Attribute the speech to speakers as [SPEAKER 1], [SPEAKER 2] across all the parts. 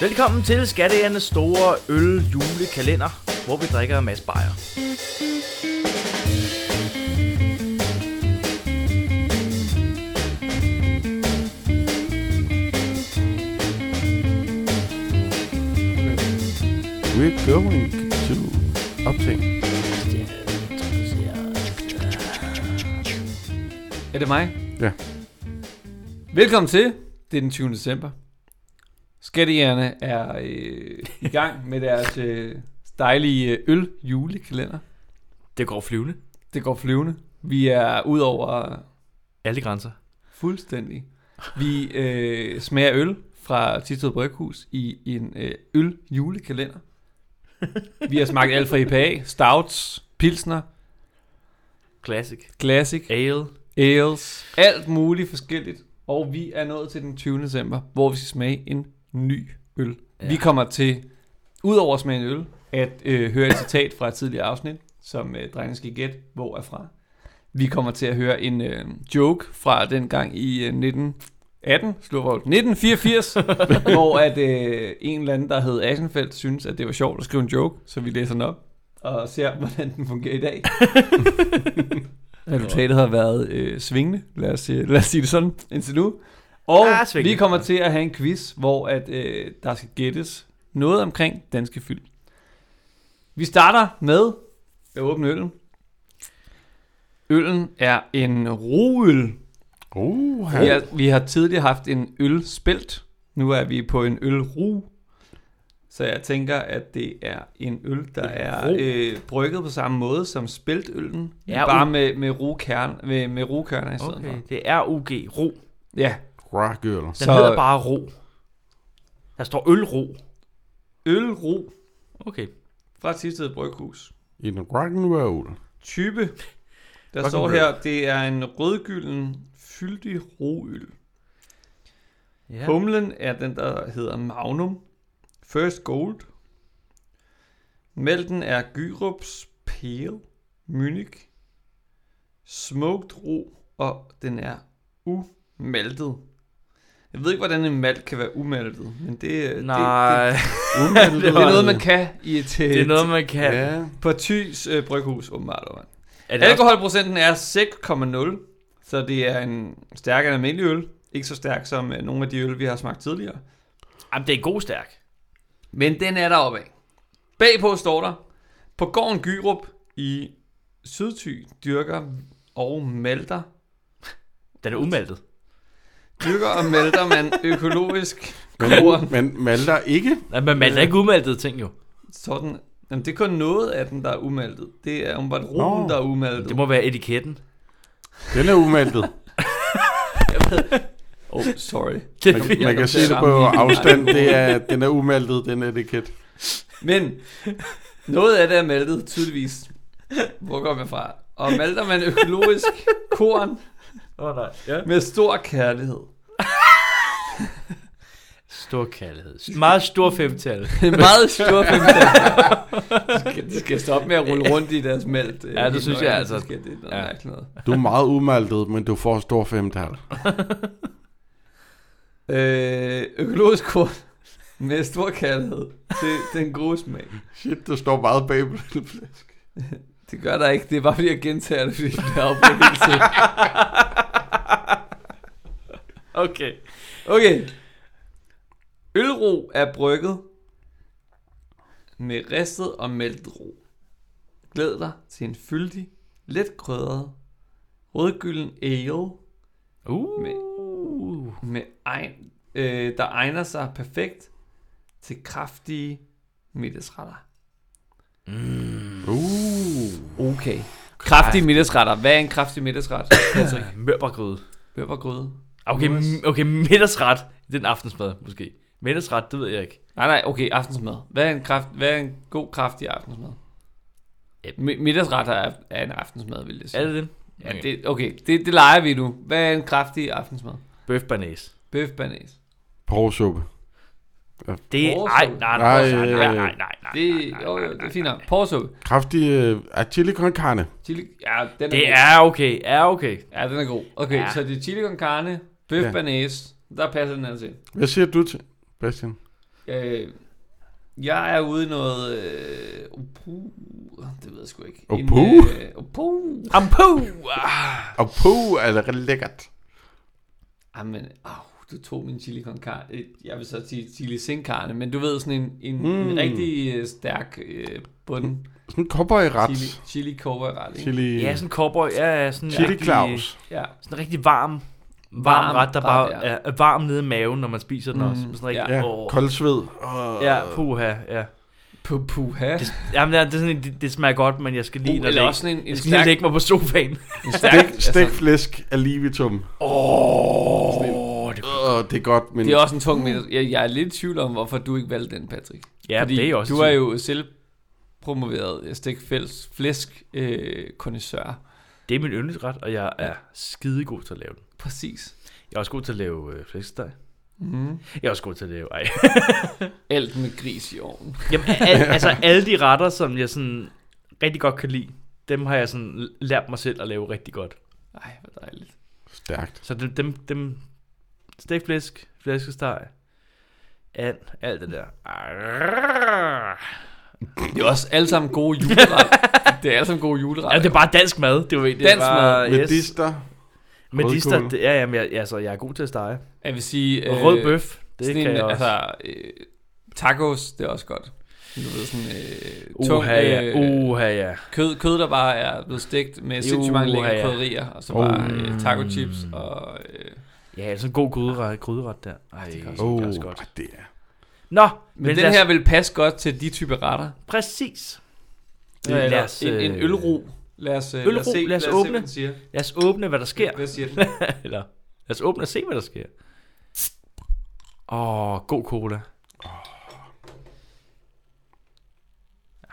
[SPEAKER 1] Velkommen til Skatteernes store øl julekalender, hvor vi drikker en masse bajer.
[SPEAKER 2] We're going to optag.
[SPEAKER 3] Er det mig?
[SPEAKER 2] Ja.
[SPEAKER 3] Velkommen til. Det er den 20. december. Skattejerne er øh, i gang med deres øh, dejlige øl julekalender.
[SPEAKER 1] Det går flyvende.
[SPEAKER 3] Det går flyvende. Vi er ud over
[SPEAKER 1] Alle grænser.
[SPEAKER 3] fuldstændig. Vi øh, smager øl fra Tisted Bryghus i en øh, øl julekalender. Vi har smagt alt fra IPA, stouts, pilsner,
[SPEAKER 1] Classic.
[SPEAKER 3] classic,
[SPEAKER 1] Ale.
[SPEAKER 3] ales, alt muligt forskelligt. Og vi er nået til den 20. december, hvor vi skal smage en ny øl.
[SPEAKER 1] Ja.
[SPEAKER 3] Ja. Vi kommer til, udover at smage en øl, at øh, høre et citat fra et tidligere afsnit, som øh, drengene skal gætte, hvor er fra. Vi kommer til at høre en øh, joke fra dengang i øh, 1918, slå 1984, hvor at øh, en eller anden, der hed Asenfeldt, synes, at det var sjovt at skrive en joke, så vi læser den op og ser, hvordan den fungerer i dag. Resultatet har været øh, svingende, lad os, sige- lad os sige det sådan, indtil nu. Og
[SPEAKER 1] Ah,
[SPEAKER 3] ah,
[SPEAKER 1] svingende.
[SPEAKER 3] vi kommer til at have en quiz, hvor at, øh, der skal gættes noget omkring danske film. Vi starter med at åbne øllen. Øllen er en roøl.
[SPEAKER 2] Uh,
[SPEAKER 3] Vi, har, vi har tidligere haft en ølspelt. Nu er vi på en ølru. Så jeg tænker, at det er en øl, der er
[SPEAKER 1] ru.
[SPEAKER 3] øh, brygget på samme måde som speltøllen.
[SPEAKER 1] Ja,
[SPEAKER 3] Ja, bare
[SPEAKER 1] u-
[SPEAKER 3] med, med, rukern, med, med rukerner i stedet
[SPEAKER 1] Okay.
[SPEAKER 3] for.
[SPEAKER 1] Det er RUG. Ro.
[SPEAKER 3] Ja,
[SPEAKER 2] rock øl.
[SPEAKER 1] Den
[SPEAKER 3] Så-
[SPEAKER 1] så... hedder bare ro. Der står ølro.
[SPEAKER 3] ølru
[SPEAKER 1] Okay.
[SPEAKER 3] fra Tisted Bryghus.
[SPEAKER 2] En rock and roll.
[SPEAKER 3] Type, der
[SPEAKER 1] Fucking
[SPEAKER 3] står
[SPEAKER 1] rød.
[SPEAKER 3] her, det er en rødgylden, fyldig roøl.
[SPEAKER 1] Ja.
[SPEAKER 3] Ja. Humlen er den, der hedder Magnum. First Gold. Mælken er Gyrups Pale. Munich. Smoked Ro. Og den er umaltet. Jeg ved ikke, hvordan en malt kan være umaltet, men det,
[SPEAKER 1] Nej,
[SPEAKER 3] det,
[SPEAKER 1] det,
[SPEAKER 3] det, det, det er noget, man kan i et,
[SPEAKER 1] det, er noget, man kan. Ja.
[SPEAKER 2] Ja.
[SPEAKER 3] på Thys øh, bryghus, åbenbart. Over.
[SPEAKER 1] Er det også...
[SPEAKER 3] Alkoholprocenten er 6,0, så det er en stærkere end almindelig øl. Ikke så stærk som øh, nogle af de øl, vi har smagt tidligere.
[SPEAKER 1] Jamen, det er en god stærk.
[SPEAKER 3] Men den er deroppe af. Bagpå står der, på gården Gyrup i Sydthy dyrker og malter.
[SPEAKER 1] Den er umaltet.
[SPEAKER 3] Dyrker og malter man økologisk
[SPEAKER 2] Men,
[SPEAKER 3] korn.
[SPEAKER 2] men malter ikke.
[SPEAKER 1] Nej, men man er ikke umaltet ting jo.
[SPEAKER 3] Sådan. Jamen, det er kun noget af den, der er umaltet. Det er umiddelbart roen,
[SPEAKER 2] Nå.
[SPEAKER 3] der er umaltet.
[SPEAKER 1] Det må være etiketten.
[SPEAKER 2] Den er umaltet.
[SPEAKER 3] Oh, sorry.
[SPEAKER 1] Det
[SPEAKER 2] Man,
[SPEAKER 1] er
[SPEAKER 2] man kan se det på afstand. Det er, den er umaltet, den etiket.
[SPEAKER 3] Men noget af det er maltet, tydeligvis. Hvor går man fra? Og malter man økologisk korn
[SPEAKER 1] Åh, oh, nej. Ja.
[SPEAKER 3] med stor kærlighed.
[SPEAKER 1] Stor kærlighed. Meget stor femtal.
[SPEAKER 3] Det er meget stor femtal. de, skal, de skal stoppe med at rulle rundt i deres malt. øh,
[SPEAKER 1] Ja, det
[SPEAKER 3] helt
[SPEAKER 1] synes
[SPEAKER 3] nøje.
[SPEAKER 1] jeg altså.
[SPEAKER 3] De Skal, det er noget
[SPEAKER 1] Ja.
[SPEAKER 3] mærkeligt noget.
[SPEAKER 2] Du er meget umaltet, men du får stor femtal.
[SPEAKER 3] Øh, økologisk korn med stor kærlighed. Det, det er en god smag.
[SPEAKER 2] Shit, der står meget bag på den flaske.
[SPEAKER 3] Det gør der ikke. Det er bare fordi, jeg gentager det, fordi det er opbrugt hele tiden.
[SPEAKER 1] Okay.
[SPEAKER 3] Okay. Ølro er brygget med ristet og mæltet ro. Glæd dig til en fyldig, let krydret, rødgylden ale
[SPEAKER 1] Uh.
[SPEAKER 3] med egen, øh, der egner sig perfekt til kraftige middagsretter.
[SPEAKER 2] Uh.
[SPEAKER 3] Okay. Kraftige middagsretter. Hvad er en kraftig middagsret? altså,
[SPEAKER 1] Mørbrødgryde.
[SPEAKER 3] høbergrøde.
[SPEAKER 1] Okay, m- okay, middagsret. Det er en aftensmad, måske. Middagsret, det ved jeg ikke.
[SPEAKER 3] Nej, nej, okay, aftensmad. Hvad er en, kraft, hvad er en god, kraftig aftensmad?
[SPEAKER 1] Yep.
[SPEAKER 3] Mi- middagsretter er, er en aftensmad, vil jeg sige.
[SPEAKER 1] Er det det?
[SPEAKER 3] Ja, det, okay, det, det leger vi nu. Hvad er en kraftig aftensmad?
[SPEAKER 1] Bøf banæs.
[SPEAKER 3] Bøf banæs.
[SPEAKER 2] Porsuppe.
[SPEAKER 1] Det er...
[SPEAKER 3] Porsuppe.
[SPEAKER 1] Ej, nej,
[SPEAKER 2] Nej,
[SPEAKER 1] nej, nej, nej,
[SPEAKER 2] øh,
[SPEAKER 1] nej, nej, nej.
[SPEAKER 3] Det, jo, jo, det er fint nok. Porsuppe.
[SPEAKER 2] Kraftig øh, er chili con carne.
[SPEAKER 3] Chili, ja, den er
[SPEAKER 1] Det
[SPEAKER 3] god.
[SPEAKER 1] er okay, er okay.
[SPEAKER 3] Ja, den er god. Okay,
[SPEAKER 1] Ja.
[SPEAKER 3] ja. så det er chili con carne, bøf
[SPEAKER 2] Ja.
[SPEAKER 3] ja. banæs. Der passer den altså ind.
[SPEAKER 2] Hvad siger du til, Bastian?
[SPEAKER 3] Øh, jeg er ude i noget... Øh, opu, det ved jeg sgu ikke.
[SPEAKER 2] Opu?
[SPEAKER 3] øh, opu.
[SPEAKER 1] Ampu! Ah,
[SPEAKER 2] Og puh, er det rigtig lækkert.
[SPEAKER 3] Jamen, au, du tog min chili con carne. Øh, Jeg vil så sige chili sin carne, men du ved, sådan en, en, mm. en rigtig øh, stærk øh, bund
[SPEAKER 2] Sådan en cowboyret.
[SPEAKER 3] chili, chili cowboyret. ikke?
[SPEAKER 2] Chili,
[SPEAKER 1] Ja, sådan en cowboy. Ja, ja, sådan en
[SPEAKER 2] chili
[SPEAKER 1] rigtig-
[SPEAKER 2] Claus.
[SPEAKER 3] Ja.
[SPEAKER 1] Sådan en rigtig varm, varm,
[SPEAKER 3] Varm
[SPEAKER 1] ret, der
[SPEAKER 3] ret,
[SPEAKER 1] bare
[SPEAKER 3] ja.
[SPEAKER 1] er, er varm nede i maven, når man spiser den
[SPEAKER 3] Mm,
[SPEAKER 1] også. Sådan en
[SPEAKER 3] ja.
[SPEAKER 1] rigtig,
[SPEAKER 2] Ja,
[SPEAKER 1] åh.
[SPEAKER 2] koldsved. Øh, Og,
[SPEAKER 1] Ja, puha, ja.
[SPEAKER 3] Pu- Puha.
[SPEAKER 1] Det, jamen, det er det er sådan, en- det, det smager godt, men jeg skal lige...
[SPEAKER 3] Uh,
[SPEAKER 1] når
[SPEAKER 3] eller
[SPEAKER 1] det-
[SPEAKER 3] også sådan en, en
[SPEAKER 1] jeg skal lige
[SPEAKER 3] stærk...
[SPEAKER 1] lægge mig på sofaen.
[SPEAKER 3] En
[SPEAKER 2] Stik,
[SPEAKER 3] stærk
[SPEAKER 2] stik
[SPEAKER 3] altså,
[SPEAKER 2] flæsk af livitum.
[SPEAKER 1] Åh, det,
[SPEAKER 2] Åh, det er godt, men...
[SPEAKER 3] det er også en tung middag. Jeg, jeg er lidt i tvivl om, hvorfor du ikke valgte den, Patrick.
[SPEAKER 1] ja,
[SPEAKER 3] Fordi
[SPEAKER 1] det er også...
[SPEAKER 3] du er jo selv promoveret stik fæls- flæsk øh, kondisseur.
[SPEAKER 1] Det er min yndlingsret, og jeg er skidegod til at lave den.
[SPEAKER 3] Præcis.
[SPEAKER 1] Jeg er også god til at lave øh, flæskesteg.
[SPEAKER 3] Mm.
[SPEAKER 1] Jeg er også god til at lave... Ej.
[SPEAKER 3] Alt med gris i ovnen.
[SPEAKER 1] Jamen, al, altså alle de retter, som jeg sådan rigtig godt kan lide, dem har jeg sådan lært mig selv at lave rigtig godt.
[SPEAKER 3] Ej, hvor dejligt.
[SPEAKER 2] Stærkt.
[SPEAKER 1] Så dem, dem, dem stegt flæsk, flæskesteg, and, alt det der. Arrrr.
[SPEAKER 3] Det er også alle sammen gode juleret. det er alle sammen gode juleret.
[SPEAKER 1] Altså, det er bare dansk mad, det er jo det. er
[SPEAKER 3] Dansk
[SPEAKER 1] bare,
[SPEAKER 2] Med
[SPEAKER 1] Yes.
[SPEAKER 2] dister.
[SPEAKER 1] Med
[SPEAKER 2] rødkål.
[SPEAKER 1] dister, det, ja, jamen, jeg, altså, jeg er god til at stege.
[SPEAKER 3] Jeg vil sige... øh,
[SPEAKER 1] Og rød bøf, det
[SPEAKER 3] sådan
[SPEAKER 1] kan
[SPEAKER 3] en,
[SPEAKER 1] jeg også.
[SPEAKER 3] Altså, øh, tacos, det er også godt. Du ved, sådan øh, tung
[SPEAKER 1] Oha, ja. Uh.
[SPEAKER 3] øh,
[SPEAKER 1] Oha, ja.
[SPEAKER 3] kød, kød, der bare er blevet stegt med sindssygt mange
[SPEAKER 1] Uha,
[SPEAKER 3] lækre
[SPEAKER 1] ja. Mm.
[SPEAKER 3] krydderier, og så
[SPEAKER 2] Oh.
[SPEAKER 3] bare øh, taco chips og... Øh,
[SPEAKER 1] Ja, altså en god krydret, krydret der. Ej, det er også, Altså,
[SPEAKER 2] Åh,
[SPEAKER 1] det er også godt.
[SPEAKER 2] det er...
[SPEAKER 1] Nå,
[SPEAKER 3] men, men den her vil passe godt til de typer retter.
[SPEAKER 1] Præcis.
[SPEAKER 3] Ja,
[SPEAKER 1] Lad
[SPEAKER 3] eller
[SPEAKER 1] os,
[SPEAKER 3] en, en
[SPEAKER 1] øh,
[SPEAKER 3] ølro. Lad os, øh,
[SPEAKER 1] ølro,
[SPEAKER 3] lad os, se,
[SPEAKER 1] lad os
[SPEAKER 3] se,
[SPEAKER 1] åbne.
[SPEAKER 3] hvad den siger.
[SPEAKER 1] Lad os åbne, hvad der sker.
[SPEAKER 3] Hvad siger den?
[SPEAKER 1] Eller, lad os åbne og se, hvad der sker. Åh, oh, god cola.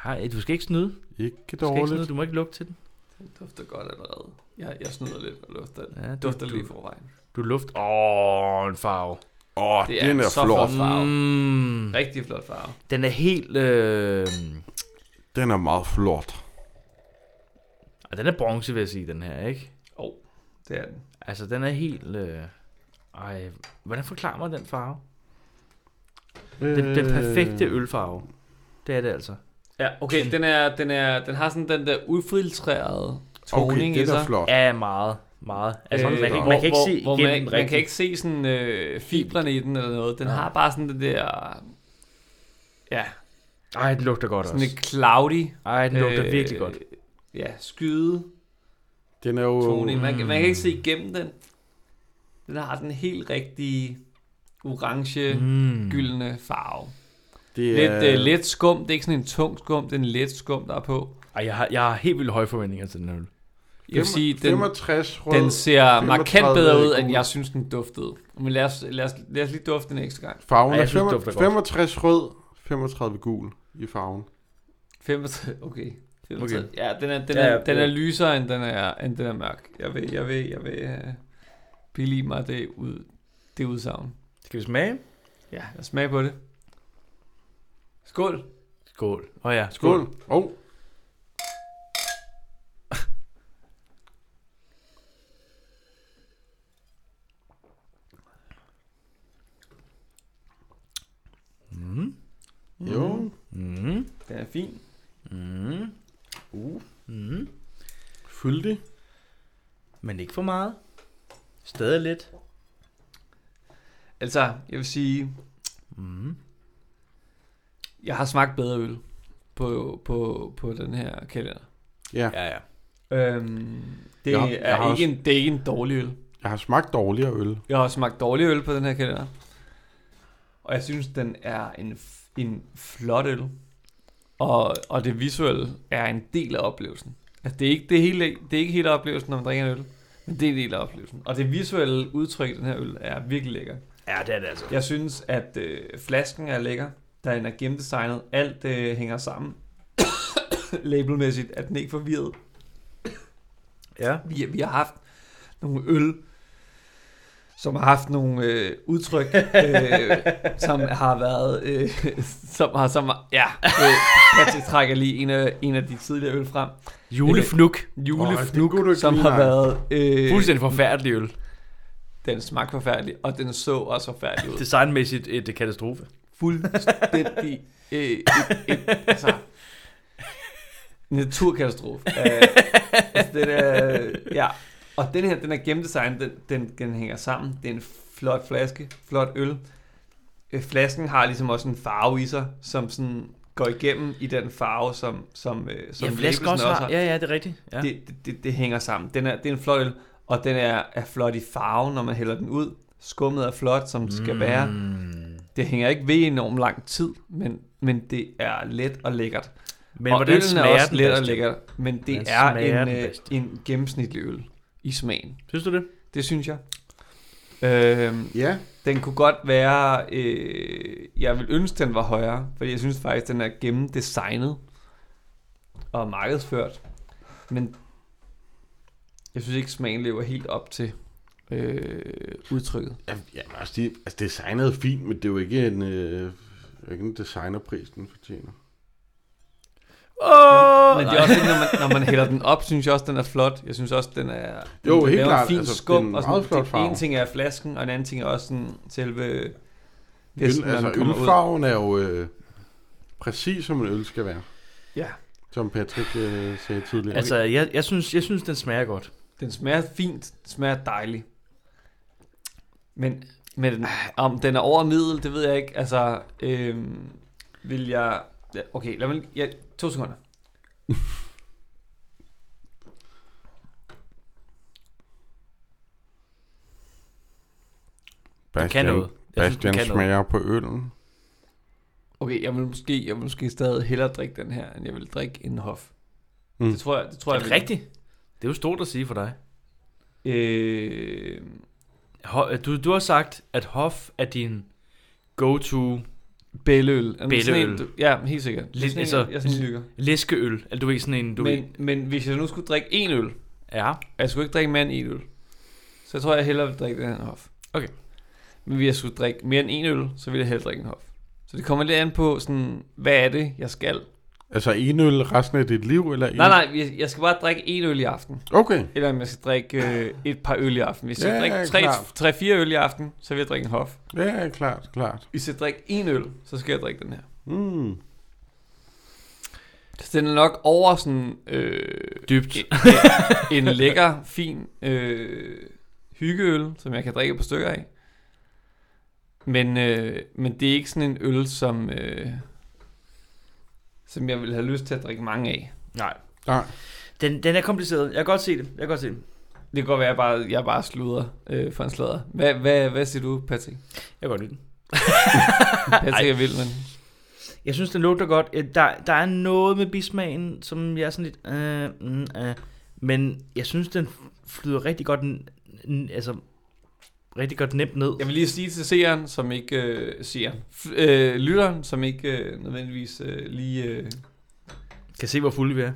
[SPEAKER 1] Hej, du skal ikke snyde. Du
[SPEAKER 2] Ikke
[SPEAKER 1] skal ikke
[SPEAKER 2] dårligt.
[SPEAKER 1] snyde. Du må ikke lugte til den.
[SPEAKER 3] Den dufter godt allerede. Jeg, jeg snyder lidt og lufter den.
[SPEAKER 1] Ja,
[SPEAKER 3] Ja,
[SPEAKER 1] du-
[SPEAKER 3] dufter
[SPEAKER 1] du- Mm.
[SPEAKER 3] lige forvejen.
[SPEAKER 1] Du luft. Åh, oh, en farve.
[SPEAKER 2] Åh,
[SPEAKER 3] Det er
[SPEAKER 2] den er
[SPEAKER 3] så
[SPEAKER 2] flot.
[SPEAKER 3] flot. Farve.
[SPEAKER 1] Mm,
[SPEAKER 3] Rigtig flot farve.
[SPEAKER 1] den er helt... Øh...
[SPEAKER 2] Den er meget flot.
[SPEAKER 1] ah, Den er bronze, vil jeg sige, den her, ikke?
[SPEAKER 3] Åh, oh, det er den.
[SPEAKER 1] Altså, den er helt... Øh... Ej, hvordan forklarer man den farve? Den, den perfekte ølfarve. Det er det altså.
[SPEAKER 3] Ja, okay, den, er, den, er, den har sådan den der ufiltrerede
[SPEAKER 2] Okay,
[SPEAKER 3] toning
[SPEAKER 2] det
[SPEAKER 3] i sig.
[SPEAKER 2] er flot.
[SPEAKER 1] Ja, meget, meget. Altså, øh, man, kan,
[SPEAKER 3] hvor-
[SPEAKER 1] ikke- man kan ikke
[SPEAKER 3] hvor-
[SPEAKER 1] se
[SPEAKER 3] hvor
[SPEAKER 1] igennem
[SPEAKER 3] man, man kan
[SPEAKER 1] rigtigt.
[SPEAKER 3] ikke se sådan øh, fibrene i den eller noget. Den
[SPEAKER 1] Nej.
[SPEAKER 3] har bare sådan det der... Ja,
[SPEAKER 1] Ej, den lugter godt
[SPEAKER 3] sådan
[SPEAKER 1] også. Øh,
[SPEAKER 3] et cloudy... øh,
[SPEAKER 1] Ej, den lugter virkelig godt.
[SPEAKER 3] Ja, skyde
[SPEAKER 2] Den er jo...
[SPEAKER 3] toning. Man, kan- man kan ikke
[SPEAKER 1] Mm.
[SPEAKER 3] se igennem den. Den har den helt rigtige orange,
[SPEAKER 1] Mm.
[SPEAKER 3] gyldne farve.
[SPEAKER 2] Det er,
[SPEAKER 3] Lidt, øh, let skum. Det er ikke sådan en tung skum. Det er en let skum, der er på.
[SPEAKER 1] Ej, jeg har, jeg har helt vildt høje forventninger til den her øl.
[SPEAKER 3] Jeg vil sige, den,
[SPEAKER 2] 65 rød.
[SPEAKER 3] den ser markant
[SPEAKER 2] 35
[SPEAKER 3] bedre ud, end
[SPEAKER 2] gul.
[SPEAKER 3] jeg synes, den duftede. Men lad os, lad os, lad os lige dufte den ekstra gang.
[SPEAKER 2] Farven
[SPEAKER 1] Ej, jeg
[SPEAKER 2] er
[SPEAKER 1] synes, det
[SPEAKER 2] 65,
[SPEAKER 1] dufter godt.
[SPEAKER 2] 65 rød, 35 gul i farven.
[SPEAKER 3] 35, okay. 35.
[SPEAKER 2] Okay.
[SPEAKER 3] Okay. Ja, den er, den,
[SPEAKER 1] Ja,
[SPEAKER 3] er,
[SPEAKER 1] ja,
[SPEAKER 3] den
[SPEAKER 1] det-
[SPEAKER 3] er lysere, end den er, end den er mørk. Jeg vil, jeg vil, jeg vil uh, billige mig det, ud, det udsagn.
[SPEAKER 1] Skal vi smage?
[SPEAKER 3] Ja, lad os smage på det. Skål.
[SPEAKER 1] Skål. Åh oh, ja, skål.
[SPEAKER 2] Skål. Og oh,
[SPEAKER 1] Mm.
[SPEAKER 2] jo,
[SPEAKER 1] Mm.
[SPEAKER 3] Den er fin.
[SPEAKER 1] Mm.
[SPEAKER 2] Uh.
[SPEAKER 1] Mm.
[SPEAKER 2] fyldig.
[SPEAKER 1] Men ikke for meget. Stadig lidt.
[SPEAKER 3] Altså, jeg vil sige,
[SPEAKER 1] Mm.
[SPEAKER 3] jeg har smagt bedre øl på, på, på den her kalender.
[SPEAKER 2] Ja,
[SPEAKER 1] Ja, ja.
[SPEAKER 3] Øhm, det,
[SPEAKER 2] Jeg
[SPEAKER 3] ja,
[SPEAKER 2] har- jeg
[SPEAKER 3] er
[SPEAKER 2] har
[SPEAKER 3] ikke en, det er ikke en dårlig øl.
[SPEAKER 2] jeg har smagt dårligere øl.
[SPEAKER 3] Jeg har smagt dårlig øl på den her kalender. Og jeg synes, den er en, f- en flot øl. Og, og det visuelle er en del af oplevelsen. Altså, det er ikke, det er hele, det er ikke hele oplevelsen, når man drikker en øl. Men det er en del af oplevelsen. Og det visuelle udtryk i den her øl er virkelig lækker.
[SPEAKER 1] Ja, det er det altså.
[SPEAKER 3] Jeg synes, at øh, flasken er lækker. Da den er gennemdesignet. Alt øh, hænger sammen. Labelmæssigt. At den ikke forvirret.
[SPEAKER 1] Ja.
[SPEAKER 3] Vi, vi har haft nogle øl, som har haft nogle øh, udtryk, øh, som har været, øh, som har, som har, ja, øh, Patrick trækker lige en af, en af de tidligere øl frem,
[SPEAKER 1] Julefnuk.
[SPEAKER 3] julefnuk,
[SPEAKER 2] Åh, det kunne du
[SPEAKER 3] oh,
[SPEAKER 2] ikke
[SPEAKER 3] som
[SPEAKER 2] lige,
[SPEAKER 3] har
[SPEAKER 2] nej.
[SPEAKER 3] været, øh,
[SPEAKER 1] Fuldstændig forfærdelig øl.
[SPEAKER 3] den smagte forfærdelig, og den så også forfærdelig ud.
[SPEAKER 1] Designmæssigt et øh, katastrofe.
[SPEAKER 3] fuldstændig øh, et, et, altså, naturkatastrofe. Øh, altså, den er, ja. Og den her, den er gennemdesignet, den, den, den hænger sammen. Det er en flot flaske, flot øl. Øh, flasken har ligesom også en farve i sig, som sådan går igennem i den farve, som, som, øh, som
[SPEAKER 1] Som ja,
[SPEAKER 3] labelsen
[SPEAKER 1] flasker også har. Ja, ja, det er rigtigt. Ja.
[SPEAKER 3] det, det, det, det hænger sammen. Den er, det er en flot øl, og den er, er flot i farven, når man hælder den ud. Skummet er flot, som det skal mm. være.
[SPEAKER 1] Mm.
[SPEAKER 3] Det hænger ikke ved i enormt lang tid, men, men det er let og lækkert.
[SPEAKER 1] Men
[SPEAKER 3] og
[SPEAKER 1] hvordan
[SPEAKER 3] øllen
[SPEAKER 1] smager
[SPEAKER 3] er også
[SPEAKER 1] den
[SPEAKER 3] let og
[SPEAKER 1] bedst?
[SPEAKER 3] lækkert, men det
[SPEAKER 1] Hvordan
[SPEAKER 3] er
[SPEAKER 1] smager
[SPEAKER 3] en,
[SPEAKER 1] den
[SPEAKER 3] øh,
[SPEAKER 1] bedst?
[SPEAKER 3] en gennemsnitlig øl i smagen.
[SPEAKER 1] Synes du det?
[SPEAKER 3] Det synes jeg. Øhm,
[SPEAKER 2] Ja,
[SPEAKER 3] den kunne godt være, øh, jeg vil ønske, den var højere, fordi jeg synes faktisk, den er gennemdesignet og markedsført. Men jeg synes ikke, smagen lever helt op til øh, udtrykket.
[SPEAKER 2] ja, ja men altså, de, altså designet er fint, men det er jo ikke en, øh, ikke en designerpris, den fortjener.
[SPEAKER 1] Åh!
[SPEAKER 3] Men det er også lidt, når man, når man hælder den op, synes jeg også, den er flot. Jeg synes også, den er...
[SPEAKER 2] Jo,
[SPEAKER 3] den
[SPEAKER 2] helt
[SPEAKER 3] laver
[SPEAKER 2] klart.
[SPEAKER 3] Fin
[SPEAKER 2] Altså,
[SPEAKER 3] skum,
[SPEAKER 2] det er en
[SPEAKER 3] og sådan,
[SPEAKER 2] meget flot
[SPEAKER 3] det-
[SPEAKER 2] farve.
[SPEAKER 3] En ting er flasken, og en anden ting er også sådan, selve...
[SPEAKER 2] Øl,
[SPEAKER 3] Festen, når
[SPEAKER 2] altså,
[SPEAKER 3] den kommer ud.
[SPEAKER 2] ølfarven er jo øh, præcis, som en øl skal være.
[SPEAKER 3] Ja,
[SPEAKER 2] Som Patrick øh, sagde tidligere.
[SPEAKER 1] Altså, jeg, jeg, synes, jeg synes, den smager godt.
[SPEAKER 3] Den smager fint, den smager dejligt. Men, men den- om den er over middel, det ved jeg ikke. Altså, øhm, vil jeg... ja, Okay, lad mig... Ja, to sekunder.
[SPEAKER 1] Den kan noget. Jeg synes, den
[SPEAKER 2] Bastian
[SPEAKER 1] kan noget.
[SPEAKER 2] smager på øllen.
[SPEAKER 3] Okay, jeg vil måske, jeg vil måske stadig hellere drikke den her, end jeg vil drikke en hof. Mm.
[SPEAKER 2] Mm.
[SPEAKER 3] Det tror jeg, det tror
[SPEAKER 1] Er
[SPEAKER 3] jeg.
[SPEAKER 1] det
[SPEAKER 3] vil.
[SPEAKER 1] rigtigt? Det er jo stort at sige for dig.
[SPEAKER 3] Øh,
[SPEAKER 1] Ho- Du, du har sagt, at hof er din go-to
[SPEAKER 3] bælleøl. Er det sådan
[SPEAKER 1] Bælleøl.
[SPEAKER 3] en, du- Ja, helt sikkert. Det er
[SPEAKER 1] Lidt-
[SPEAKER 3] sådan
[SPEAKER 1] altså-
[SPEAKER 3] en, jeg sådan lykker.
[SPEAKER 1] læskeøl. Eller du ved sådan en, du ved.
[SPEAKER 3] Men, men hvis jeg nu skulle drikke en øl,
[SPEAKER 1] Ja.
[SPEAKER 3] Og Jeg skulle ikke drikke mere end en øl. Så jeg tror, jeg hellere vil drikke den her hof.
[SPEAKER 1] Okay.
[SPEAKER 3] Men hvis jeg skulle drikke mere end en øl, så ville jeg hellere drikke en hof. Så det kommer lidt an på, sådan, hvad er det, jeg skal?
[SPEAKER 2] Altså en øl resten af dit liv, eller en?
[SPEAKER 3] Nej, nej, jeg- jeg skal bare drikke en øl i aften.
[SPEAKER 2] Okay.
[SPEAKER 3] Eller om jeg skal drikke øh, et par øl i aften. Hvis jeg
[SPEAKER 2] Ja,
[SPEAKER 3] skal drikke
[SPEAKER 2] ja,
[SPEAKER 3] tre,
[SPEAKER 2] klart.
[SPEAKER 3] tre, fire øl i aften, så vil jeg drikke en hof.
[SPEAKER 2] Ja, klart, klart.
[SPEAKER 3] Hvis jeg drikker en øl, så skal jeg drikke den her.
[SPEAKER 2] Mm.
[SPEAKER 3] Så den er nok over sådan øh,
[SPEAKER 1] Dybt.
[SPEAKER 3] en, en lækker, fin øh, hyggeøl, som jeg kan drikke på stykker af. Men, øh, men det er ikke sådan en øl, som, øh, som jeg ville have lyst til at drikke mange af.
[SPEAKER 1] Nej.
[SPEAKER 2] Nej.
[SPEAKER 1] Den, den er kompliceret. Jeg kan godt se det. Jeg kan godt se det.
[SPEAKER 3] Det kan godt være, at jeg bare, jeg bare sluder øh, for en slader. Hvad, hvad, hvad siger du, Patrick?
[SPEAKER 1] Jeg kan godt lide den.
[SPEAKER 3] Patrick er vild, men...
[SPEAKER 1] Jeg synes, den lugter godt. Øh, Der, der er noget med bismagen, som jeg er sådan lidt... Øh, mm, øh. Men jeg synes, den flyder rigtig godt... n- n- altså, rigtig godt nemt ned.
[SPEAKER 3] Jeg vil lige sige til seeren, som ikke øh, ser, f- øh, lytteren, som ikke øh, nødvendigvis øh, lige øh,
[SPEAKER 1] kan se, hvor fulde vi er.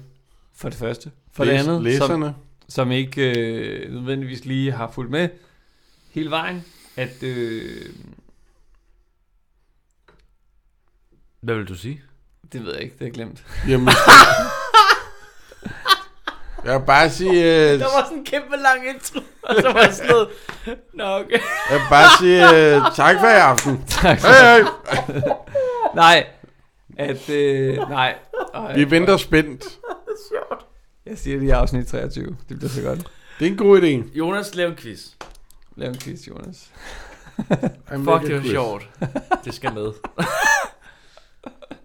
[SPEAKER 3] for det første. For det andet, som,
[SPEAKER 2] Læserne.
[SPEAKER 3] som ikke øh, nødvendigvis lige har fulgt med hele vejen, at øh,
[SPEAKER 1] Hvad vil du sige?
[SPEAKER 3] det ved jeg ikke, det er glemt.
[SPEAKER 2] Jamen, jeg vil bare sige, øh,
[SPEAKER 1] Der var sådan en kæmpe lang intro, og så var jeg sådan noget... Nå, okay.
[SPEAKER 2] jeg vil bare sige øh, tak for i aften.
[SPEAKER 3] Tak.
[SPEAKER 2] Hey, hey.
[SPEAKER 3] nej, at øh, nej. Ej,
[SPEAKER 2] Vi venter spændt.
[SPEAKER 3] Jeg siger det i afsnit 23. Det bliver så godt.
[SPEAKER 2] Det er en god idé.
[SPEAKER 1] Jonas, lav en quiz.
[SPEAKER 3] Lav en quiz, Jonas.
[SPEAKER 2] I'm
[SPEAKER 1] Fuck, det var sjovt. Det skal med.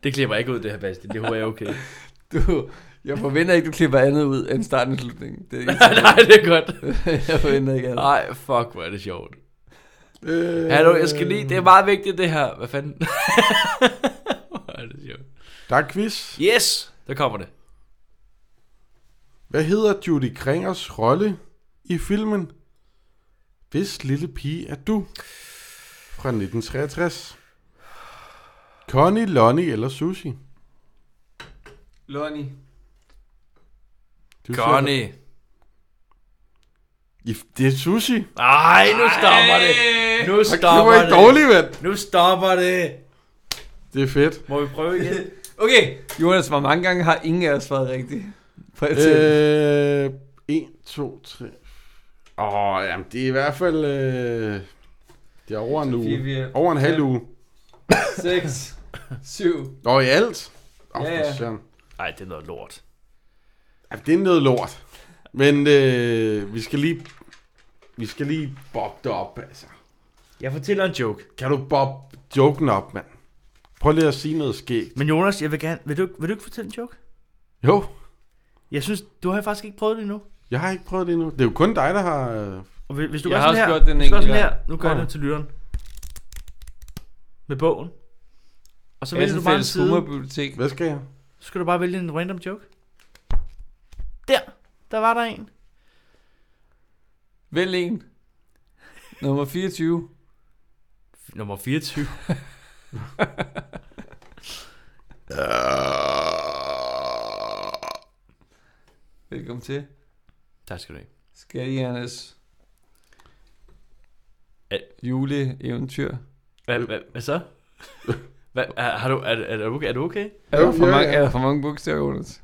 [SPEAKER 1] det klipper ikke ud, det her, Basti. Det håber jeg er okay.
[SPEAKER 3] Du, jeg forventer ikke, du klipper andet ud end starten og slutningen. Det er ikke
[SPEAKER 1] Nej, det er godt.
[SPEAKER 3] jeg forventer ikke andet.
[SPEAKER 1] Nej, fuck, hvor er det sjovt.
[SPEAKER 2] Øh,
[SPEAKER 1] Hallo, jeg skal lige... Det er meget vigtigt, det her. Hvad fanden? hvor er det sjovt.
[SPEAKER 2] Der er quiz.
[SPEAKER 1] Yes! Der kommer det.
[SPEAKER 2] Hvad hedder Judy Kringers rolle i filmen Hvis lille pige er du? Fra 1963. Connie, Lonnie eller Susie?
[SPEAKER 3] Lonnie.
[SPEAKER 2] Du siger-
[SPEAKER 1] Connie.
[SPEAKER 2] I- Det er Susie.
[SPEAKER 1] Ej, nu stopper det. Nu
[SPEAKER 2] Og det var
[SPEAKER 1] stopper
[SPEAKER 2] ikke
[SPEAKER 1] det.
[SPEAKER 2] dårligt, mand.
[SPEAKER 1] Nu stopper det.
[SPEAKER 2] Det er fedt.
[SPEAKER 1] Må vi prøve igen?
[SPEAKER 3] Okay, Jonas, hvor mange gange har ingen af os svaret rigtigt? Prøv at tælle.
[SPEAKER 2] Øh, 1, 2, 3. Åh, jamen det er i hvert fald... Øh, det er over en uge.
[SPEAKER 3] Fire, fire.
[SPEAKER 2] Over en halv
[SPEAKER 3] Ja.
[SPEAKER 2] uge.
[SPEAKER 3] 6, 7.
[SPEAKER 2] Nå, i alt? Oh,
[SPEAKER 3] Ja,
[SPEAKER 2] ja,
[SPEAKER 3] ja.
[SPEAKER 2] ja.
[SPEAKER 1] Nej, det er noget lort.
[SPEAKER 2] Jamen, det er noget lort. Men øh, vi skal lige... Vi skal lige bob det op, altså.
[SPEAKER 1] Jeg fortæller en joke.
[SPEAKER 2] Kan du bob joken op, mand? Prøv lige at sige noget skægt.
[SPEAKER 1] Men Jonas, jeg vil gerne... Vil du, vil du ikke fortælle en joke?
[SPEAKER 2] Jo,
[SPEAKER 1] Jeg synes, du har faktisk ikke prøvet det endnu.
[SPEAKER 2] jeg har ikke prøvet det endnu. Det er jo kun dig, der har... øh,
[SPEAKER 1] Og hvis- hvis du
[SPEAKER 3] Jeg
[SPEAKER 1] gør
[SPEAKER 3] har
[SPEAKER 1] sådan
[SPEAKER 3] også
[SPEAKER 1] her,
[SPEAKER 3] gjort den
[SPEAKER 1] hvis du gør
[SPEAKER 3] enkelt
[SPEAKER 1] sådan
[SPEAKER 3] gang.
[SPEAKER 1] her, nu gør jeg
[SPEAKER 2] Nå.
[SPEAKER 1] det til lytteren. Med bogen. Og så vælger du bare en
[SPEAKER 3] Assenfælles
[SPEAKER 1] side.
[SPEAKER 3] Humorbibliotek.
[SPEAKER 2] Hvad skal jeg?
[SPEAKER 1] Så skal du bare vælge en random joke. Der, der var der en.
[SPEAKER 3] Vælg en. Nummer 24.
[SPEAKER 1] Nummer 24.
[SPEAKER 3] Velkommen til.
[SPEAKER 1] Tak skal du have.
[SPEAKER 3] Skattejernes
[SPEAKER 1] Al-
[SPEAKER 3] juleeventyr.
[SPEAKER 1] Hvad, hvad, hvad så? Hvad, er, har du, er, er, du okay? er du okay?
[SPEAKER 3] Er
[SPEAKER 2] Jo,
[SPEAKER 3] der for
[SPEAKER 2] ja,
[SPEAKER 3] mange,
[SPEAKER 2] ja.
[SPEAKER 3] er der for mange bogstaver, Jonas?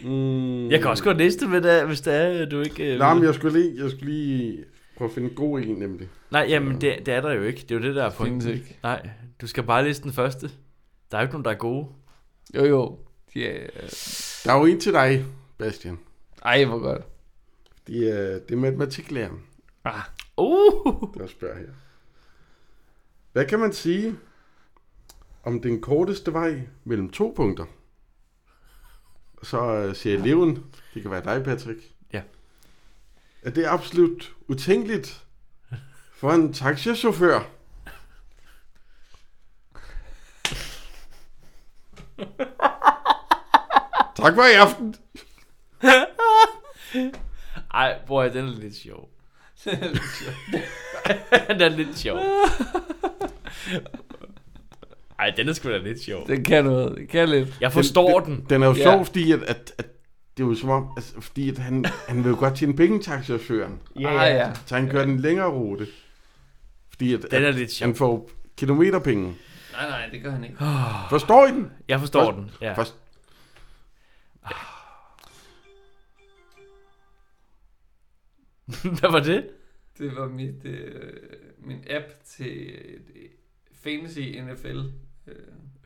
[SPEAKER 2] Mm.
[SPEAKER 1] Jeg kan også godt næste, men, uh, hvis det er, øh, du ikke... Uh,
[SPEAKER 2] Nej, men jeg skulle lige, jeg skulle lige prøve at finde en god en, nemlig.
[SPEAKER 1] Nej, jamen, det, det er der jo ikke. Det er jo det, der er
[SPEAKER 3] Der findes
[SPEAKER 1] pointen.
[SPEAKER 3] ikke.
[SPEAKER 1] Nej, du skal bare læse den første. Der er jo ikke nogen, der er gode.
[SPEAKER 3] Jo, jo. De er...
[SPEAKER 2] Der er jo en til dig, Bastian.
[SPEAKER 3] Ej, hvor godt.
[SPEAKER 2] Det er, det er matematiklæreren,
[SPEAKER 3] Ah,
[SPEAKER 1] Uh!
[SPEAKER 2] der spørger her. Hvad kan man sige om den korteste vej mellem to punkter? Så øh, siger eleven, det kan være dig, Patrick.
[SPEAKER 1] Ja.
[SPEAKER 2] At det er absolut utænkeligt for en taxichauffør. tak for i aften.
[SPEAKER 1] Ej, bror, den er lidt sjov. den er lidt sjov. Ej, den er sgu da lidt sjov.
[SPEAKER 3] den kan noget. Den kan lidt.
[SPEAKER 1] Jeg forstår den.
[SPEAKER 2] Den er jo
[SPEAKER 3] Ja.
[SPEAKER 2] ja. sjov, fordi at, at, at det er jo som om, altså, fordi at han, han vil jo godt tjene penge, taxichaufføren.
[SPEAKER 3] Ja, ah, ja.
[SPEAKER 2] Så han kører den længere rute. Fordi at,
[SPEAKER 1] Den er
[SPEAKER 2] at
[SPEAKER 1] lidt sjov.
[SPEAKER 2] han får kilometerpenge.
[SPEAKER 3] Nej, nej, det gør han ikke.
[SPEAKER 2] Forstår I den?
[SPEAKER 1] Jeg forstår
[SPEAKER 2] Først-
[SPEAKER 1] den. Ja.
[SPEAKER 2] Først,
[SPEAKER 1] Hvad var det?
[SPEAKER 3] Det var mit, øh, min app til øh, fantasy NFL. Øh,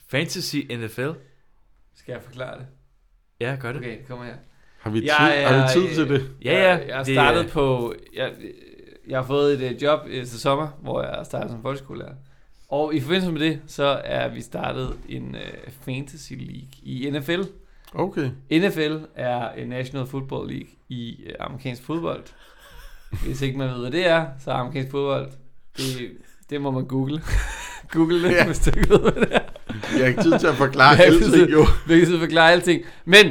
[SPEAKER 1] Fantasy NFL?
[SPEAKER 3] skal jeg forklare det?
[SPEAKER 1] Ja, gør det. Okay.
[SPEAKER 3] Okay, kom her.
[SPEAKER 2] har vi tid,
[SPEAKER 3] Jeg
[SPEAKER 2] ja, ja, har vi
[SPEAKER 3] er,
[SPEAKER 2] tid
[SPEAKER 3] øh,
[SPEAKER 2] til det?
[SPEAKER 1] Ja, ja.
[SPEAKER 3] Jeg, jeg har
[SPEAKER 1] det-
[SPEAKER 3] startet på... Jeg, jeg har fået et øh, job øh, til sommer, hvor jeg startede som folkeskolelærer. Og i forbindelse med det, så er vi startet en øh, fantasy league i NFL.
[SPEAKER 2] Okay.
[SPEAKER 3] NFL er en National Football League i øh, amerikansk fodbold. Hvis ikke man ved, hvad det er, så er amerikansk fodbold, det, det må man google. google det,
[SPEAKER 2] Ja.
[SPEAKER 3] ja. hvis du ikke ved, hvad det er.
[SPEAKER 2] Jeg har ikke tid til at forklare
[SPEAKER 3] Ja,
[SPEAKER 2] ja, alting,
[SPEAKER 3] præcis.
[SPEAKER 2] jo.
[SPEAKER 3] Hvilket så forklarer alting. Men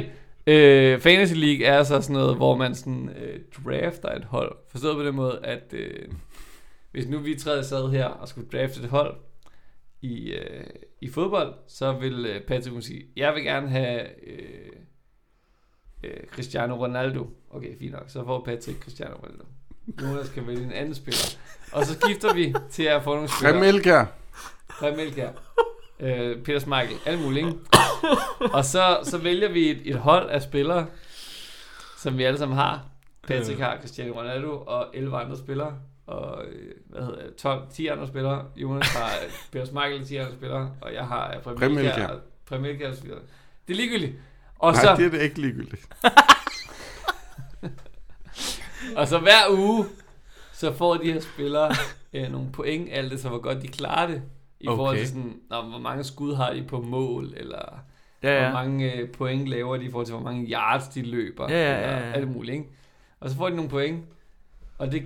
[SPEAKER 3] øh, Fantasy League er så sådan noget, hvor man sådan, øh, drafter et hold. Forstået på den måde, at øh, hvis nu vi tredje sad her og skulle drafte et hold i, øh, i fodbold, så vil øh, Patrick kunne sige, jeg vil gerne have øh, øh, Cristiano Ronaldo. Okay, fint nok. Så får Patrick Cristiano Ronaldo. Jonas kan vælge en anden spiller. Og så skifter vi til at få nogle spillere.
[SPEAKER 2] Frem Elkær.
[SPEAKER 3] Frederik Melkær, øh, Peter Smeichel, alle mulige. ikke? Og så, så vælger vi et, et hold af spillere, som vi alle sammen har. Patrick har Cristiano Ronaldo og 11 andre spillere. Og øh, hvad hedder det, 12, 10 andre spillere. Jonas har øh, Peter Smeichel, 10 andre spillere. Og jeg har øh,
[SPEAKER 2] Preben
[SPEAKER 3] Premier
[SPEAKER 2] Elkjær.
[SPEAKER 3] og Preben Elkjær og så videre. Det er ligegyldigt. Og
[SPEAKER 2] Nej,
[SPEAKER 3] så,
[SPEAKER 2] det er det ikke ligegyldigt.
[SPEAKER 3] Og så hver uge, så får de her spillere øh, nogle point, alt det, så hvor godt de klarer det. I okay. forhold
[SPEAKER 1] Okay.
[SPEAKER 3] til sådan, nå, hvor mange skud har de på mål, eller
[SPEAKER 1] Ja,
[SPEAKER 3] ja.
[SPEAKER 1] ja.
[SPEAKER 3] hvor mange øh, point laver de i forhold til, hvor mange yards de løber,
[SPEAKER 1] Ja, ja,
[SPEAKER 3] eller
[SPEAKER 1] ja, ja.
[SPEAKER 3] alt muligt, ikke? Og så får de nogle point, og det,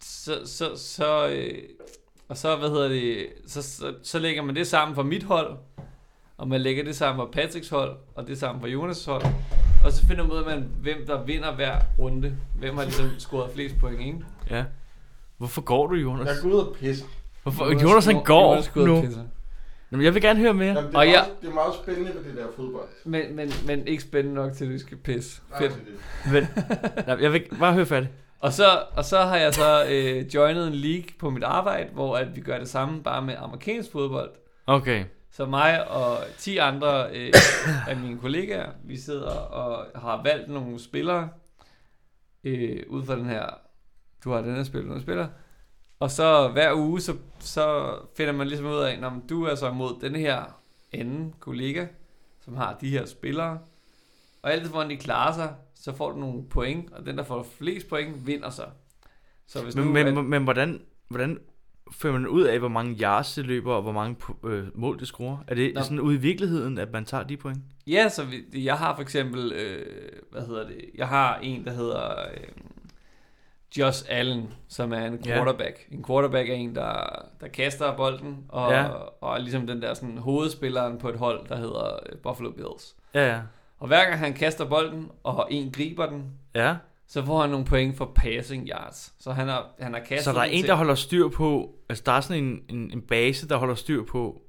[SPEAKER 3] så, så, så, øh, og så, hvad hedder det, så, så, så lægger man det sammen for mit hold, og man lægger det sammen for Patricks hold, og det sammen for Jonas' hold, og så finder man ud af, man, hvem der vinder hver runde, hvem har ligesom scoret flest point, ikke?
[SPEAKER 1] ja. Hvorfor går du, Jonas?
[SPEAKER 2] Jeg går ud og pisser.
[SPEAKER 1] Hvorfor? Jonas, han går
[SPEAKER 3] Jonas går ud og
[SPEAKER 1] nu.
[SPEAKER 3] pisser.
[SPEAKER 1] Jamen, jeg vil gerne høre mere.
[SPEAKER 2] Jamen, det, er
[SPEAKER 3] Og
[SPEAKER 2] meget,
[SPEAKER 3] jeg-
[SPEAKER 2] det er meget spændende ved det der fodbold.
[SPEAKER 3] Men, men, men ikke spændende nok til, at du skal pisse.
[SPEAKER 2] Nej,
[SPEAKER 3] Fedt.
[SPEAKER 2] det er det.
[SPEAKER 1] Men, nej, jeg vil bare høre færdigt.
[SPEAKER 3] Og så, og så har jeg så øh, joinet en league på mit arbejde, hvor at vi gør det samme, bare med amerikansk fodbold.
[SPEAKER 1] Okay.
[SPEAKER 3] Så mig og 10 andre øh, af mine kollegaer, vi sidder og har valgt nogle spillere øh, ud fra den her, du har den her spiller, den her spiller, Og så hver uge, så, så finder man ligesom ud af, at du er så imod den her anden kollega, som har de her spillere. Og alt efter, hvordan de klarer sig, så får du nogle point, og den, der får flest point, vinder så. Så hvis
[SPEAKER 1] Men,
[SPEAKER 3] nu, at-
[SPEAKER 1] men, men, men hvordan, hvordan finder man ud af, hvor mange yards det løber, og hvor mange po- øh, mål det scorer? Er det
[SPEAKER 3] Nå.
[SPEAKER 1] Nå. sådan ude i virkeligheden, at man tager de point?
[SPEAKER 3] Ja, så vi- jeg har for eksempel, øh, hvad hedder det, jeg har en, der hedder øh, Josh Allen, som er en
[SPEAKER 1] Ja.
[SPEAKER 3] quarterback. En quarterback er en, der, der kaster bolden, og,
[SPEAKER 1] Ja.
[SPEAKER 3] og er ligesom den der sådan, hovedspilleren på et hold, der hedder øh, Buffalo Bills.
[SPEAKER 1] Ja, ja.
[SPEAKER 3] Og hver gang han kaster bolden, og en griber den,
[SPEAKER 1] Ja,
[SPEAKER 3] så får han nogle point for passing yards. Så han har, han har kastet
[SPEAKER 1] så der er
[SPEAKER 3] den
[SPEAKER 1] en,
[SPEAKER 3] til-
[SPEAKER 1] der holder styr på, altså der er sådan en, en, en base, der holder styr på,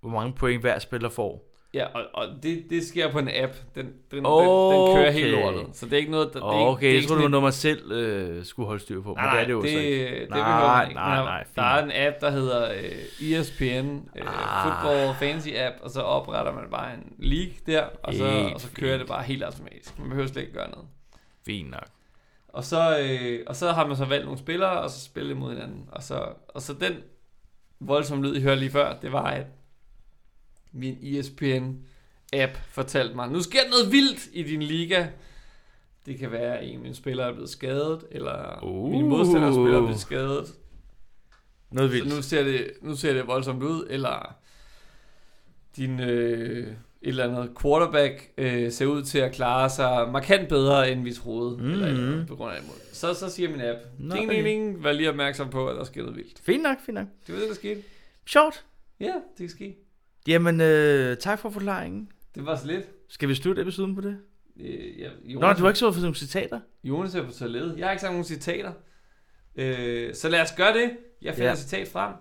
[SPEAKER 1] hvor mange point hver spiller får.
[SPEAKER 3] Ja, og, og det, det sker på en app. Den, den, den, den
[SPEAKER 1] Okay.
[SPEAKER 3] kører helt lortet. Så det er ikke noget... Der, det er ikke- det er
[SPEAKER 1] Okay, jeg
[SPEAKER 3] ikke
[SPEAKER 1] tror, det
[SPEAKER 3] sådan
[SPEAKER 1] var
[SPEAKER 3] et-
[SPEAKER 1] noget, man selv øh, skulle holde styr på, men
[SPEAKER 3] Nej,
[SPEAKER 1] det er det jo
[SPEAKER 3] det,
[SPEAKER 1] så ikke.
[SPEAKER 3] det
[SPEAKER 1] Nej,
[SPEAKER 3] behøver man ikke.
[SPEAKER 1] nej,
[SPEAKER 3] Man har-
[SPEAKER 1] nej, fint.
[SPEAKER 3] der er en app, der hedder øh, ESPN, øh,
[SPEAKER 1] Ah.
[SPEAKER 3] Football Fantasy App, og så opretter man bare en league der, og så,
[SPEAKER 1] Helt
[SPEAKER 3] og så kører det
[SPEAKER 1] fint.
[SPEAKER 3] bare helt automatisk. Man behøver slet ikke gøre noget.
[SPEAKER 1] Fint nok.
[SPEAKER 3] Og så, øh, og så har man så valgt nogle spillere, og så spillet mod hinanden. Og så, og så den voldsomme lyd, I hørte lige før, det var, at min E ESPN-app fortalte mig, nu sker der noget vildt i din liga. Det kan være, at en af mine spillere er blevet skadet, eller uh. min
[SPEAKER 1] Uh.
[SPEAKER 3] modstanders spiller er blevet skadet.
[SPEAKER 1] Noget vildt.
[SPEAKER 3] Så Altså, nu ser, det, nu ser det voldsomt ud, eller din øh, et eller andet quarterback øh, ser ud til at klare sig markant bedre, end vi troede, mm. eller, et eller andet, på grund af imod. Så, så siger min app,
[SPEAKER 1] Mm-hmm. Nå,
[SPEAKER 3] ding, ding, ding, vær lige opmærksom på, at der sker noget vildt.
[SPEAKER 1] Fint nok, fint nok.
[SPEAKER 3] Det var det, der skete.
[SPEAKER 1] Sjovt.
[SPEAKER 3] Ja, det kan ske.
[SPEAKER 1] Jamen, øh, tak for forklaringen.
[SPEAKER 3] Det var så lidt.
[SPEAKER 1] Skal vi slutte episoden på det?
[SPEAKER 3] Øh, ja,
[SPEAKER 1] Nå, du har ikke så for nogle citater?
[SPEAKER 3] Jonas er på toilettet. Jeg har ikke sagt nogen citater. Øh, så lad os gøre det. Jeg finder
[SPEAKER 1] Ja.
[SPEAKER 3] et citat frem.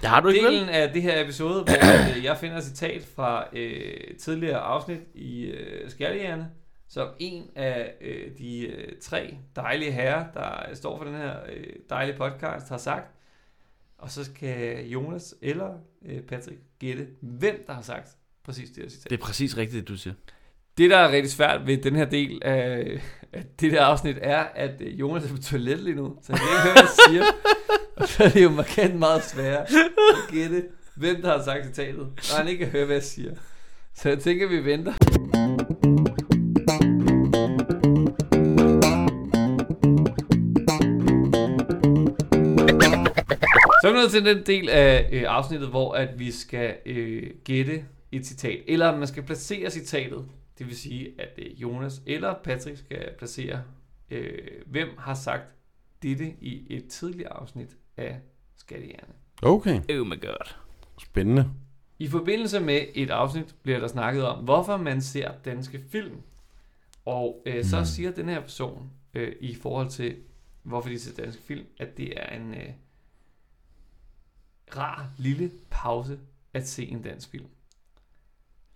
[SPEAKER 1] Det har du ikke, vel?
[SPEAKER 3] Delen af det her episode, hvor øh, jeg finder et citat fra øh, tidligere afsnit i øh, Skærligerne, som en af øh, de øh, tre dejlige herrer, der står for den her øh, dejlige podcast, har sagt. Og så skal Jonas eller øh, Patrick gætte, hvem der har sagt præcis det her citat.
[SPEAKER 1] Det er præcis rigtigt, det du siger.
[SPEAKER 3] Det, der er rigtig svært ved den her del af, af det der afsnit, er, at øh, Jonas er på toilettet lige nu, så han kan ikke høre, hvad jeg siger. Og så er det jo markant meget sværere at gætte, hvem der har sagt citatet, og han ikke kan høre, hvad jeg siger. Så jeg tænker, vi venter. Så er vi nået til den del af øh, afsnittet, hvor at vi skal øh, gætte et citat, eller man skal placere citatet. Det vil sige, at øh, Jonas eller Patrick skal placere, øh, hvem har sagt dette i et tidligere afsnit af Skattehjerne.
[SPEAKER 2] Okay,
[SPEAKER 1] Oh my god.
[SPEAKER 2] spændende.
[SPEAKER 3] I forbindelse med et afsnit bliver der snakket om, hvorfor man ser danske film. Og øh, så
[SPEAKER 2] Mm.
[SPEAKER 3] siger den her person øh, i forhold til, hvorfor de ser danske film, at det er en øh, rar lille pause at se en dansk film.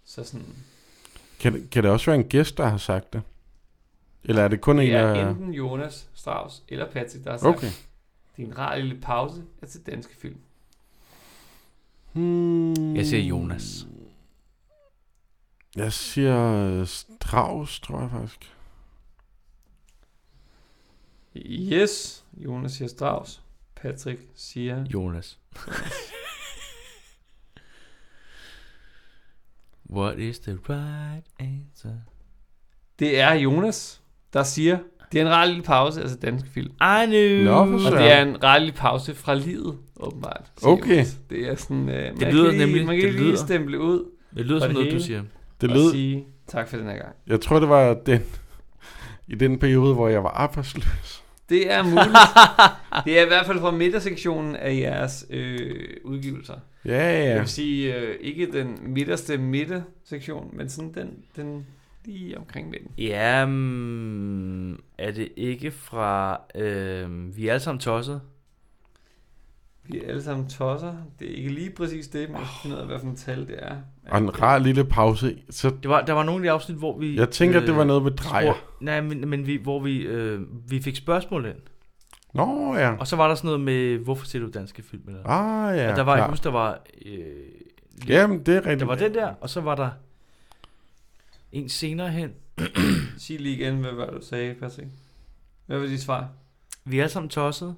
[SPEAKER 3] Så sådan,
[SPEAKER 2] Kan, det- kan det også være en gæst, der har sagt det? Eller er det kun en,
[SPEAKER 3] det
[SPEAKER 2] der...
[SPEAKER 3] er enten Jonas Strauss eller Patrick, der har sagt, okay.
[SPEAKER 2] Okay.
[SPEAKER 3] det er en rar lille pause at se danske film.
[SPEAKER 2] Hmm.
[SPEAKER 1] Jeg siger Jonas.
[SPEAKER 2] Jeg siger øh, Strauss, tror jeg faktisk.
[SPEAKER 3] Yes, Jonas siger Strauss. Patrick siger
[SPEAKER 1] Jonas. What is the right answer?
[SPEAKER 3] Det er Jonas, der siger, det er en rar lille pause, altså dansk film.
[SPEAKER 1] I knew.
[SPEAKER 2] Nå, for
[SPEAKER 3] Og
[SPEAKER 2] søren.
[SPEAKER 3] det er en rar lille pause fra livet, åbenbart. siger
[SPEAKER 2] Okay.
[SPEAKER 3] Jonas. Det er sådan, øh,
[SPEAKER 1] lyder
[SPEAKER 3] man kan lige,
[SPEAKER 1] nemlig-
[SPEAKER 3] Man kan
[SPEAKER 1] det
[SPEAKER 3] lige
[SPEAKER 1] lyder.
[SPEAKER 3] stemple ud
[SPEAKER 1] Det lyder
[SPEAKER 3] Og
[SPEAKER 1] som
[SPEAKER 3] det
[SPEAKER 1] noget, du
[SPEAKER 3] hele.
[SPEAKER 1] siger.
[SPEAKER 2] Det
[SPEAKER 3] og
[SPEAKER 2] lød...
[SPEAKER 3] sige tak for den her gang.
[SPEAKER 2] Jeg tror, det var den, i den periode, hvor jeg var arbejdsløs.
[SPEAKER 3] Det er muligt. det er i hvert fald fra midtersektionen af jeres øh, udgivelser.
[SPEAKER 2] Ja,
[SPEAKER 3] Ja. Jeg
[SPEAKER 2] ja.
[SPEAKER 3] vil sige, øh, ikke den midterste midtersektion, men sådan den, den lige omkring midten.
[SPEAKER 1] Jamen, mm, er det ikke fra, øh, vi er alle sammen tosset?
[SPEAKER 3] Vi er alle sammen tosser. Det er ikke lige præcis det, men jeg skal finde ud af, hvad for en tal det er.
[SPEAKER 2] Og en rar lille pause. Så
[SPEAKER 1] Det var, der var nogle af de afsnit, hvor vi... øh,
[SPEAKER 2] jeg tænker, det var noget med drejer.
[SPEAKER 1] Hvor, nej, men, men vi, hvor vi, øh, vi fik spørgsmål ind.
[SPEAKER 2] Nå ja.
[SPEAKER 1] Og så var der sådan noget med, hvorfor ser du danske film? Eller?
[SPEAKER 2] Ah ja.
[SPEAKER 1] og der var, jeg
[SPEAKER 2] klar.
[SPEAKER 1] husker, der var... Øh,
[SPEAKER 2] Jamen, det er rigtigt.
[SPEAKER 1] der var den der, og så var der en senere hen.
[SPEAKER 3] Sig lige igen, hvad var det, du sagde, Patrick? Hvad var dit svar?
[SPEAKER 1] Vi er alle sammen tosset.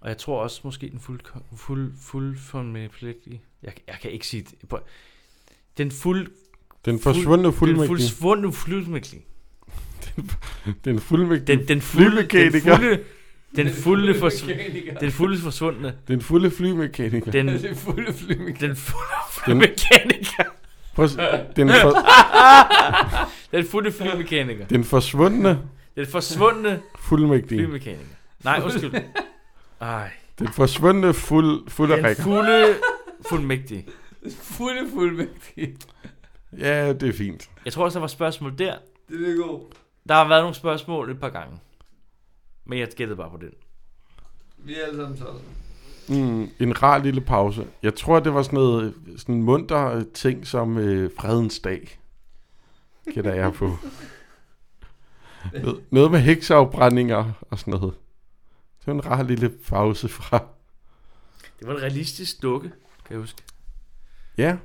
[SPEAKER 1] Og jeg tror også måske den fuld, fuld, fuld fuldmægtige. Jeg, jeg kan ikke sige det. Prøv- Den fuld,
[SPEAKER 2] Den
[SPEAKER 1] Fuld-
[SPEAKER 2] forsvundne
[SPEAKER 1] den
[SPEAKER 2] fuldmægtige.
[SPEAKER 1] fuldsvundne fuldmægtige.
[SPEAKER 2] Den fuldmægtige.
[SPEAKER 1] Den, den fulde, den
[SPEAKER 2] Flymekaniker.
[SPEAKER 1] fulde, den fulde, for, den
[SPEAKER 3] Den,
[SPEAKER 1] fulde forsvundne.
[SPEAKER 2] Den fulde flymekaniker.
[SPEAKER 1] Den,
[SPEAKER 3] den fulde flymekaniker.
[SPEAKER 1] den fulde
[SPEAKER 2] Den-
[SPEAKER 1] flymekaniker.
[SPEAKER 2] Prøv at se. Den, for,
[SPEAKER 1] Den fulde flymekaniker.
[SPEAKER 2] den forsvundne
[SPEAKER 1] Den forsvundne
[SPEAKER 2] fuldmægtige.
[SPEAKER 1] flymekaniker. Nej, undskyld. Ej.
[SPEAKER 2] Den forsvundne fuld, fuld af
[SPEAKER 1] Den
[SPEAKER 2] rækker.
[SPEAKER 1] fulde fuldmægtige.
[SPEAKER 3] Den fulde fuldmægtige.
[SPEAKER 2] Ja, det er fint.
[SPEAKER 1] Jeg tror også, der var spørgsmål der.
[SPEAKER 3] Det er god.
[SPEAKER 1] Der har været nogle spørgsmål et par gange. Men jeg gættede bare på den.
[SPEAKER 3] Vi er alle sammen sådan.
[SPEAKER 2] Mm, en rar lille pause. Jeg tror, det var sådan noget sådan en munter ting som øh, fredens dag. Gætter jeg på. Noget- Noget med hekseafbrændinger og sådan noget. Det var en rar lille pause fra.
[SPEAKER 1] Det var en realistisk dukke, kan jeg huske.
[SPEAKER 2] Ja,
[SPEAKER 1] Jeg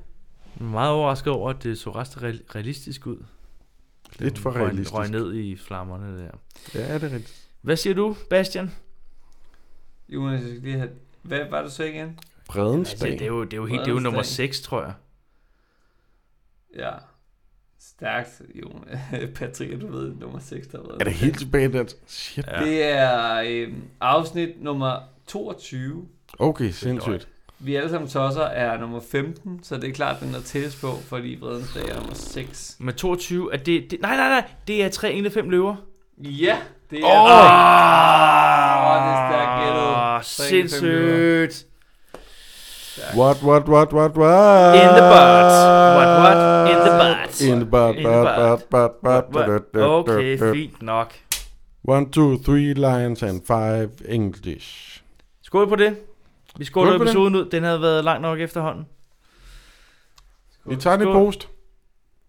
[SPEAKER 1] er meget overrasket over, at det så ret real- realistisk ud.
[SPEAKER 2] lidt for
[SPEAKER 1] Den røg-
[SPEAKER 2] realistisk.
[SPEAKER 1] Røg ned i flammerne der.
[SPEAKER 2] Ja, det er rigtigt.
[SPEAKER 1] Hvad siger du, Bastian?
[SPEAKER 3] Jonas, jeg skal lige have... Hvad var det så igen?
[SPEAKER 2] Fredens
[SPEAKER 1] Altså, det, er
[SPEAKER 2] dag.
[SPEAKER 1] jo, det, er jo helt, det er jo nummer
[SPEAKER 3] Fredens
[SPEAKER 1] 6, tror jeg.
[SPEAKER 3] Ja. Stærkt, Jonas. Patrick, du ved nummer 6, der har været.
[SPEAKER 2] Er det helt tilbage der? Shit.
[SPEAKER 1] Ja.
[SPEAKER 3] Det er øhm, afsnit nummer 22.
[SPEAKER 2] Okay, sindssygt.
[SPEAKER 3] Vi alle sammen tosser er nummer 15, så det er klart, den er tættest på, fordi Vredens Dag er nummer 6.
[SPEAKER 1] Med 22, at det, det... Nej, nej, nej. Det er 3 engle 5 løver.
[SPEAKER 3] Ja, det er...
[SPEAKER 1] Åh,
[SPEAKER 3] Åh, det er stærkt
[SPEAKER 1] Åh,
[SPEAKER 3] gættet. Tre engle, fem løver.
[SPEAKER 1] Sindssygt.
[SPEAKER 2] What, what, what, what, what?
[SPEAKER 1] In the butt. What, what? In the butt.
[SPEAKER 2] In the butt,
[SPEAKER 1] In the
[SPEAKER 2] butt,
[SPEAKER 1] butt.
[SPEAKER 2] butt, butt, butt, butt, butt,
[SPEAKER 1] Okay,
[SPEAKER 2] butt, butt.
[SPEAKER 1] fint nok.
[SPEAKER 2] One, two, three lions and five English.
[SPEAKER 1] Skål på det. Vi
[SPEAKER 2] Skål
[SPEAKER 1] skåler
[SPEAKER 2] på det.
[SPEAKER 1] episoden ud. Den havde været lang nok efterhånden.
[SPEAKER 2] Vi tager den i
[SPEAKER 1] Skål.
[SPEAKER 2] post.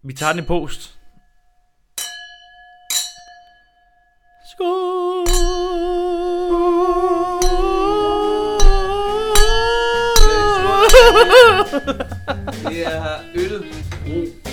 [SPEAKER 1] Vi tager den i post. Skål!
[SPEAKER 3] Det er øl, ro